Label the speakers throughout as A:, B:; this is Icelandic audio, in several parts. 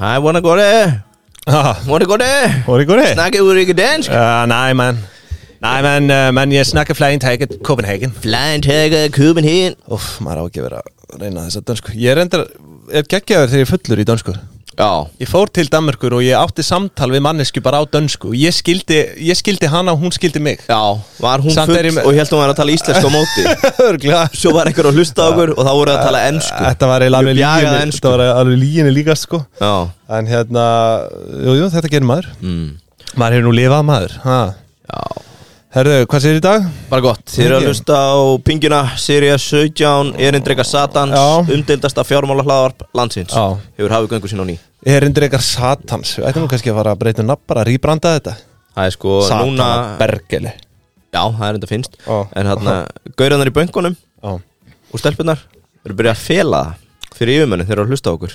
A: I wanna go there
B: Ah,
A: Wanna go there
B: var det går det?
A: Snakke ud ikke dansk
B: Eh, nei, men Nei, men, eh, men jeg snakker fleint heget Copenhagen.
A: Flying tiger, Køben hen
B: Uff, maður á ekki að vera að reyna þess að dönsku. Ég reyndar, er geggjaður þegar ég er fullur í dönsku.
A: Já
B: Ég fór til Danmörkur og ég átti samtal við mannesku bara á dönsku. Ég skildi, ég skildi hana og hún skildi mig.
A: Já, var hún
B: Samt er
A: full
B: ég með-
A: og held hún var að tala íslenskt á móti
B: Örglega.
A: Svo var einhver að hlusta á okkur og þá voru að tala ennsku
B: Þetta var eiginlega alveg
A: Bjagaði
B: líginni,
A: ensku.
B: þetta var alveg líginni líka, sko.
A: Já
B: En hérna, jú, jú, þetta gerir maður.
A: mm.
B: Maður hefur nú lifað maður. Ha.
A: Já
B: Herðu, hvað séð í dag?
A: Bara gott, þið eru að
B: Ok.
A: hlusta á Pingina, Sirius 17, Erindrega Satans,
B: Já.
A: umdeildasta fjármála hlaðvarp landsins
B: Já.
A: Hefur hafið göngu sín á ný
B: Erindrekar Satans. Við ættum nú kannski að fara að breyta um nafn bara, að rýbranda þetta.
A: Það er sko núna,
B: Bergeli.
A: já það er enda finnst
B: Já.
A: En hérna, gauranar í böngunum
B: Já.
A: og stelpunar eru byrjað að fela það fyrir yfirmönnum þeir eru að hlusta á okkur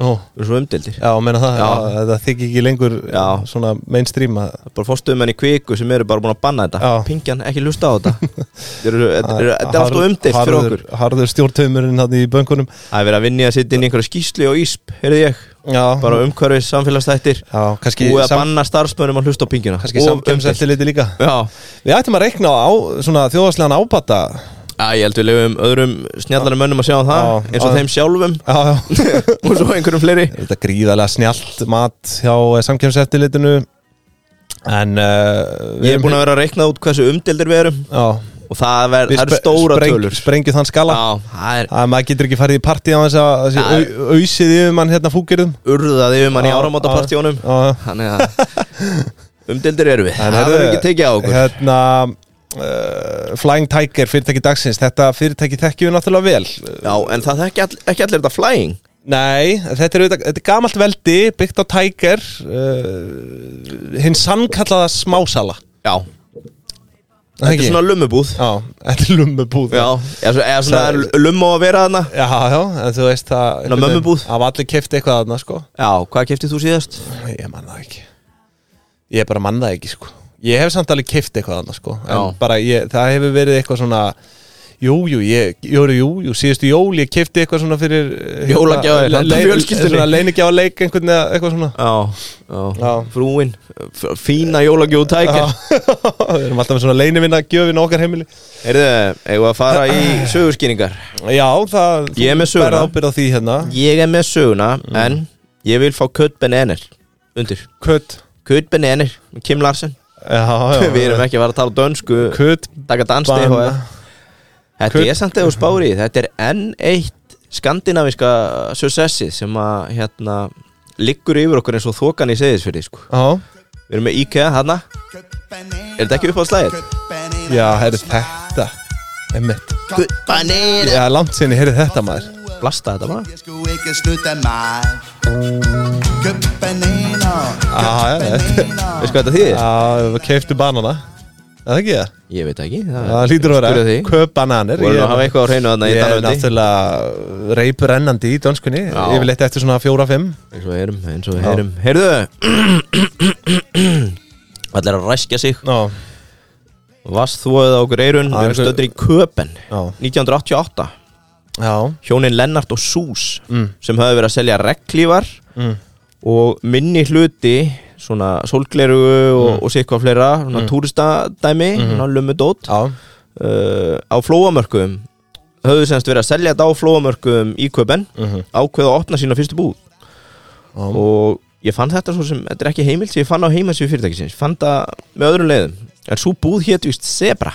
A: Þeir
B: Ó.
A: eru svo umdeildir
B: Já, meina það,
A: Já.
B: já. það þykir ekki lengur
A: Já.
B: svona mainstream að
A: Það er bara fórstuðumenn í kviku sem eru bara búin að banna þetta
B: Já.
A: Pingjan, ekki hlusta á þetta Þeir eru- Þetta eru- þetta er
B: Harð-
A: alltaf umdeilt fyrir
B: harður-
A: okkur
B: Harður stjórntöymurinn hann í böngunum
A: Það er verið að vinni að sitja inn í einhverja skýsli og ísp, heyrði ég
B: Já,
A: Bara umhverfis samfélagsþættir
B: já kannski
A: Búið að
B: sam,
A: banna starfsmönnum að hlusta á pingjuna
B: kannski
A: Og umdeilt.
B: samkjömseftiliti líka
A: Já,
B: Við ættum að reikna á svona þjóðaslegan ábata
A: Æ, ég held við lefum öðrum snjallari mönnum að sjá um það
B: Já,
A: Eins og
B: já.
A: þeim sjálfum
B: Já, já
A: og svo einhverjum fleiri
B: Þetta er gríðarlega snjallt mat hjá samkjömseftilitinu En uh,
A: Ég er búin að vera að reikna út hversu umdildir við erum
B: Já,
A: Og það, ver,
B: við
A: það eru
B: spe-
A: stóra
B: spreng-
A: tölur
B: Sprengju þann skala
A: Já, það er
B: Að maður getur ekki farið í partí á þess að að
A: Já.
B: sé au- ausið yfir mann hérna fúkirðum
A: urðað yfir mann um í
B: Já,
A: áramótapartíunum
B: Já, já
A: Þannig að umdildir eru við
B: En
A: Það
B: heyrðu,
A: verður ekki tekið á okkur
B: Hérna uh, Flying Tiger, fyrirtæki dagsins Þetta fyrirtæki þekkjum við náttúrulega vel
A: Já, en það er ekki, all, ekki allir þetta flying
B: Nei, þetta er, auðvitað- þetta er gamalt veldi Byggt á Tiger uh, Hinn sannkallaða smásala
A: Já, þetta er svona lummubúð
B: Já, þetta er lummubúð
A: Já, eða, svo- eða svona
B: Það-
A: lumm á að vera þarna
B: Já, já, en þú veist það
A: Svona mömmubúð.
B: Af allir kefti eitthvað aðna, sko
A: Já, hvað keftið þú síðast?
B: Ég man það ekki Ég bara man það ekki, sko Ég hef samt alveg keift eitthvað annað, sko En
A: Já.
B: bara, ég, það hefur verið eitthvað svona Jú, jú, ég, jú, jú, jú, síðustu jól Ég keifti eitthvað svona fyrir eh, hérna,
A: Jólagjafir
B: le-
A: handa
B: le-
A: fjölskyldunni.
B: Svona leinigjáða leik einhvern veginn eitthvað svona
A: Já, já,
B: Já.
A: frúin f- Fína jólagjóð tækir
B: Við erum alltaf með svona leinivinna gjöfin á okkar heimili
A: Heyrðu, eigum við að fara í sögurskýringar
B: Já, það
A: Ég er með
B: þú berð
A: söguna.
B: ábyrgð á því hérna
A: Ég er með söguna, en ég vil fá Kurt Benenner Undir
B: Kutt
A: Kurt Benenner, Kim Larsen
B: Já, já
A: Við erum ekki að fara að tala dönsku
B: Kutt
A: Taka dansti
B: Ban-
A: Þetta
B: Kurt-
A: er samt eða spári Þetta er enn eitt skandinaviska successið sem að hérna liggur yfir okkur eins og þokan í seðisfyrði sko.
B: Já,
A: Við erum með IKEA hana Er þetta ekki upp á slæðið?
B: já, herri þetta Einmitt
A: Kurt Benenner
B: Já, langt sinni, herri þetta maður
A: Blasta þetta bara
C: Jeg skulle ikke slutte mig Køb bananer
B: Ah, ja, det-
A: Veistu hvað þetta þýðir?
B: Já, við keiftu banana Er það ekki það?
A: Ég veit það ekki
B: Það lítur að
A: Spurðu
B: vera
A: því
B: Köp bananir
A: Þú erum að hafa eitthvað á hreinu þarna í
B: Ég er
A: Danlandi
B: náttúrulega reipur ennandi í dönskunni
A: Já.
B: Yfirleitt eftir svona fjóra-fimm
A: Eins og við heyrum, eins og við heyrum Heyrðu Allir að ræskja sig
B: Já,
A: Vassþvóið á okkur eirun
B: Já,
A: Við erum
B: einhver-
A: stöldur í Köpen
B: já,
A: 1988
B: já,
A: Hjónin Lennart og Sús
B: Mm.
A: Sem höfðu verið að selja reglívar
B: Mm.
A: Og minni hluti Svona sólgleru og,
B: Mm.
A: og sikvað fleira Svona túristadæmi
B: Mhm.
A: Svona lummudót
B: já,
A: uh, á flóamörkum höfðu semst verið að selja þetta á flóamörkum í Köpen,
B: Mhm. Mm.
A: ákveða að opna sína fyrstu búð
B: Já.
A: og ég fann þetta svo sem, þetta er ekki heimild sem ég fann á heimasíu fyrirtækisins, fann það með öðrum leiðum, en svo búð hétt vist Zebra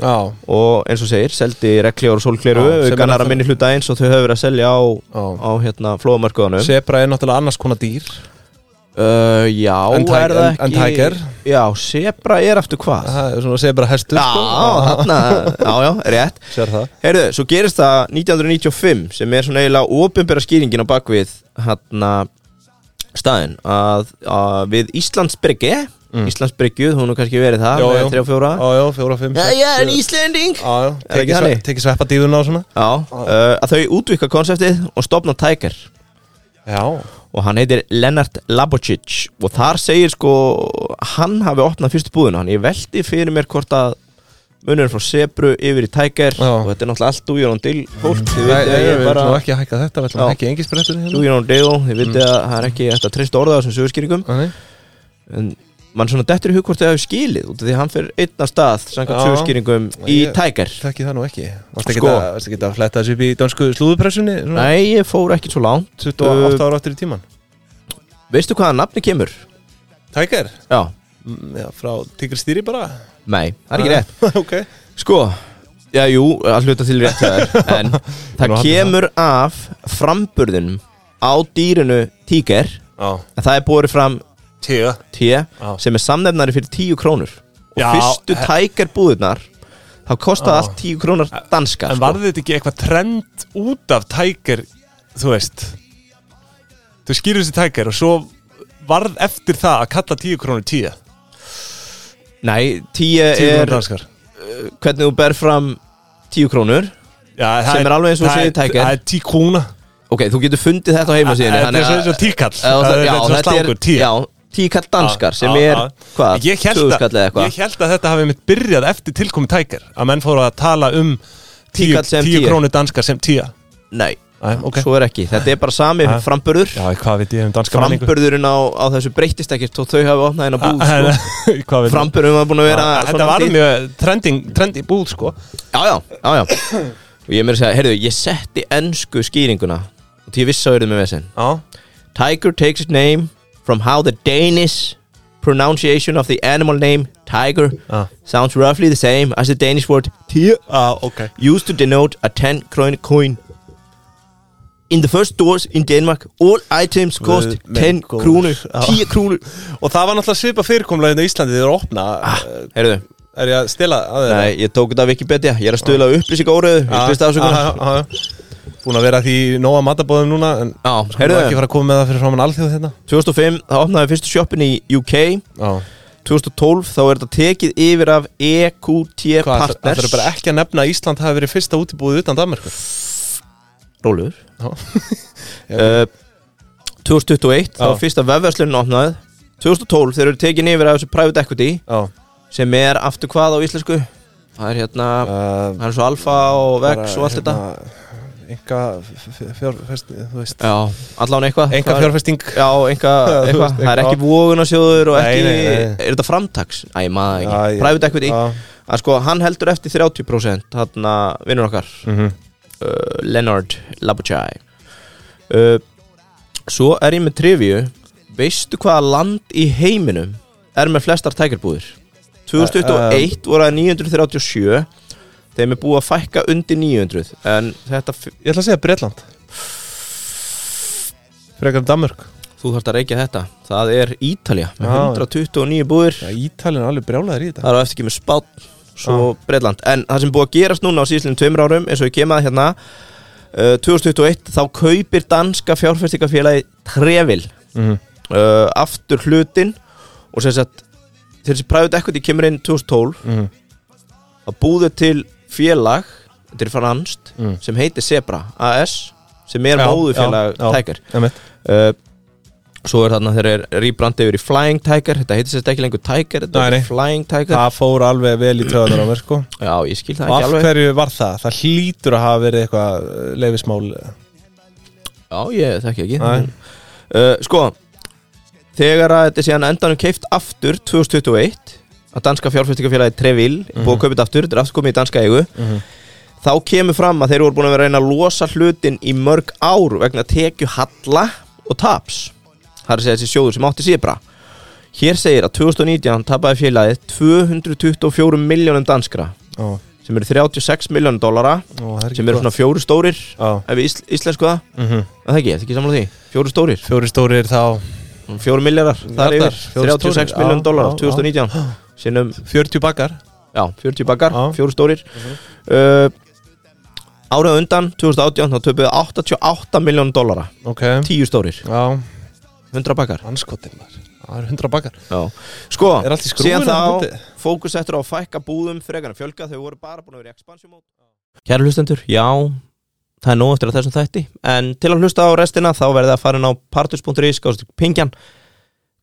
B: já,
A: og eins og segir, seldi reglívar og
B: Já,
A: sólkleru
B: sem er
A: aukanar að
B: náttúrulega-
A: minni hluta eins og þau höfðu verið að selja á,
B: Já.
A: á hérna, flóamörkuðanum
B: Sebra er náttúrulega annars konar dýr
A: uh, Já,
B: En tæ-
A: er það
B: en- en
A: ekki
B: tæker?
A: Já, Zebra er aftur hvað?
B: Það er svona sebra hestur
A: Já, þarna, já, já, rétt
B: Sko, Sér það
A: Heyrðu, svo gerist það 1995 sem er svona eiginlega ofinbera skýringin á bakvið hérna staðin að, að við Íslandsbryggi mm. Íslandsbryggju, hún er kannski verið það
B: Jó,
A: með
B: jó.
A: 3 og 4
B: Já, já, fjóra, fimm,
A: Já,
B: sex
A: ég er
B: sjö.
A: Íslending
B: Já, já,
A: Er ekki
B: tekið sve-
A: þannig?
B: tekið sveppadífuna og svona
A: Já, uh, að þau útvikka konseptið og stopna Tiger
B: Já,
A: og hann heitir Lennart Labocic og þar segir sko hann hafi opnað fyrstu búðuna hann ég veldi fyrir mér hvort að munurinn frá Sebru yfir í Tiger og
B: Já.
A: þetta er náttúrulega allt dújur án til fólk þið vitið
B: Nei, nei,
A: að ég
B: við
A: er bara
B: ætlum nú ekki að hækka þetta, við ætlum
A: Já.
B: að hækka engi sprettunni hérna.
A: dújur án til þið vitið að það er ekki þetta treyst orða á þessum sögurskýringum
B: Þannig.
A: en mann svona dettur í hug hvort þið hafi skilið út af því að hann fer einn af stað samkvæmt
B: Já.
A: sögurskýringum í
B: Ég-
A: Tiger
B: Þekki það nú ekki. Varst ekki
A: Sko.
B: að, varstu ekki að fletta þessu upp í dansku slúðupressunni?
A: Nei, ég fór ekki svo langt
B: 28 ára áttir í tíman.
A: Veistu hvaða nafni kemur?
B: Tiger?
A: Já,
B: Mm, Já, frá Tigristýri bara.
A: nei, það er ekki rétt
B: ok.
A: Sko, já, jú, að hluta til rétt það er En það
B: Nú, hann-
A: kemur af framburðinum á dýrinu tíker
B: Já.
A: En það er borið fram
B: Tíu.
A: T sem er samnefnari fyrir 10 krónur Og
B: Já,
A: fyrstu tækar búðirnar Þá kostaði
B: Já.
A: allt 10 krónar danska
B: En
A: sko.
B: varði þetta ekki eitthvað trend út af Tiger, þú veist Þú skýrur þessi Tiger og svo varð eftir það að kalla 10 krónur 10
A: Nei, 10
B: 10
A: er
B: krónur danskar
A: hvernig þú ber fram 10 krónur
B: Já, það
A: sem er alveg eins og
B: það
A: segir
B: er-
A: Tiger.
B: Það er 10 króna
A: Ok, þú getur fundið þetta á heimasíðinu
B: Það er svo tíkall
A: Já, það, já,
B: svo
A: þetta er
B: slangur, 10
A: já, tíu kall danskar sem
B: Já,
A: er,
B: já.
A: hvað,
B: Ég held að-
A: tvöskall eða eitthvað
B: Ég held að þetta hafi mitt byrjað eftir tilkomi Tiger Að menn fóru að tala um 10
A: Tíkall sem
B: 10
A: 10.
B: krónur danskar sem 10
A: Nei,
B: Æ, ok.
A: svo er ekki, þetta er bara sami
B: Æ.
A: framburður
B: Já, hvað veit ég um danska menningu
A: framburðurinn á, á þessu breytist ekkert og þau hafa opnað hérna búð
B: Ah, Hvað
A: sko.
B: veit ég
A: framburðurinn var búin að vera
B: Já, ah. Þetta
A: svona
B: var
A: tíð.
B: mjög trending, trending búð sko
A: Já, já, já, já Og ég er meira að segja, heyrðu, ég setti ennsku skýringuna og því ég vissi að verðum með þessin
B: Já
A: Tiger takes its name from how the Danish pronunciation of the animal name tiger
B: Ah.
A: sounds roughly the same as the Danish word tyr
B: ah, ok
A: used to denote a 10 kroner coin. In the first stores in Denmark, all items cost
B: minn
A: 10
B: góður.
A: kroner,
B: Já.
A: 10 kroner.
B: Og það var náttúrulega svipa fyrirkomlega hérna á Íslandi þegar það opna eh,
A: Heyrðu,
B: Er ég að stela að Ah, þeirra?
A: Ah. nei, ég tók þetta af Wikipedia, ég er að stuðla upplýsing óriðu, upplýst afsökunar.
B: Búin að vera að því nóga matabóðum núna En
A: Já,
B: Heyrðu ekki
A: heyrðu,
B: fara að koma með það fyrir framann alþjóð hérna
A: 2005, þá opnaði fyrstu shoppin í UK,
B: Já
A: 2012, þá er þetta tekið yfir af EQT
B: Hvað, ætlar-
A: Partners.
B: ætlarðu bara ekki að nefna að Ísland hafi verið fyrsta útibúið utan Danmarku?
A: Rólegur.
B: Já.
A: uh, 2021, þá
B: Já.
A: var fyrsta vefverslunin opnaði. 2012, þeir eru tekin yfir af þessu private equity.
B: Já
A: sem er aftur hvað á íslensku það er hérna
B: uh,
A: það er svo alfa og vex
B: hérna,
A: og allt þetta
B: Enga fjárfesting, þú veist
A: já, allan eitthvað
B: Enga
A: Hvað er-
B: fjárfesting
A: já, enga
B: Já, þú
A: eitthvað
B: veist,
A: það er
B: eitthvað.
A: ekki vóðunarsjóður og
B: Nei,
A: ekki
B: nei, nei.
A: er þetta framtags? Æ, maður ekki
B: Já, ég-
A: private equity
B: Já.
A: að sko hann heldur eftir 30% þarna vinnur okkar
B: Mhm.
A: uh, Leonard Labuchai uh, svo er ég með trivju veistu hvaða land í heiminum er með flestar tækjarbúðir 2021 voru það 937 þeim er búið að fækka undir 900 en þetta, f-
B: Ég ætla að segja Breitland Frekar en Danmörk
A: þú þarft að reykja þetta það er Ítalja með
B: Já.
A: 129 búðir
B: Já, Ítalinn er alveg brjálæðir í þetta
A: það er á eftir ekki með spátt svo Breitland, en það sem búið að gerast núna á síðslinni tveimur árum, eins og ég kemaði hérna uh, 2021, þá kaupir danska fjárfestingafélagi Trevil
B: Mhm.
A: uh, aftur hlutin og sem sagt þegar þessi private equity kemur inn 2012
B: mm.
A: að búðu til félag þetta er franst,
B: Mm.
A: sem heitir Zebra AS, sem er
B: Já,
A: móðufélag
B: já, já.
A: Tiger
B: Einmitt.
A: uh, svo er þarna þeir eru rýbrandið yfir í Flying Tiger, þetta heitir sér ekki lengur Tiger, þetta
B: Nei, nei.
A: er Flying Tiger
B: Það fór alveg vel í töðunar á mér sko
A: já, ég skil það
B: Og
A: ekki
B: af
A: alveg
B: hverju var það? Það hlýtur að hafa verið eitthvað leifismál
A: Já, ég þekki ekki
B: Nei.
A: uh, Sko Þegar að þetta er síðan endanum keift aftur 2021 að danska fjárfæstingafélagi Trevil búið að kaupa þetta aftur, þetta er aftur komið í danska eigu þá kemur fram að þeir voru búin að vera að reyna að losa hlutin í mörg ár vegna tekju halla og taps það er að segja þessi sjóður sem átti sébra Hér segir að 2019 tapaði félagið 224 miljónum danskra
B: Ó,
A: sem eru 36 miljónum dollara
B: ó, það er ekki
A: sem eru
B: gott.
A: svona fjóru stórir
B: Já.
A: ef við ísl- íslensku það
B: Mhm.
A: Er Það ekki, er það ekki samanlega því? Fjóru stórir,
B: Fjóri stórir þá
A: fjóru milljarar Það er
B: Þarna,
A: yfir,
B: fjórir stórir,
A: 36
B: já,
A: milljón dólar
B: já,
A: 2019 Sinnum,
B: 40 bakkar
A: já, 40 bakkar,
B: Já.
A: fjóru stórir uh, Árað undan, 2018 Þá töpuðu 88 milljón dólara
B: Ok
A: 10 stórir,
B: Já
A: 100 bakkar
B: Anskotin maður Það eru 100 bakkar
A: já. Sko,
B: Er allt í skrúfunni
A: síðan
B: þarna
A: þá
B: úti?
A: Fókus eftir á að fækka búðum Frekar að fjölga, þau voru bara búin að vera í expansion mode Kæra hlustendur, já Það er nóg eftir að þessum þætti En til að hlusta á restina þá verðið að fara inn á partus.is Gáðast pingjan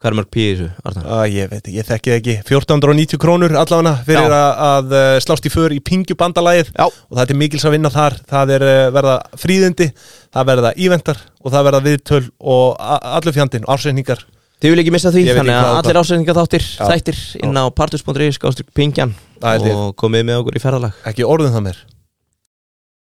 A: Hvað er mörg pí í þessu, Arnar?
B: Æ, ég veit ekki, ég þekki það ekki 1490 krónur allavega fyrir
A: Já.
B: að, að eh, slást í för í pingjubandalagið
A: Já.
B: og það er mikils að vinna þar það er eh, verða fríðindi, það verða íventar og það verða viðtöl og a- allur fjandinn, ársreiningar
A: Þið vil ekki missa því,
B: Ég veit
A: þannig
B: ekki
A: að
B: hvað
A: allir
B: þetta-
A: ásendinga þáttir,
B: Já.
A: þættir inn á partus.ri skástrík pingjan
B: Það er til.
A: og komið með okkur í ferðalag
B: ekki orðum það mér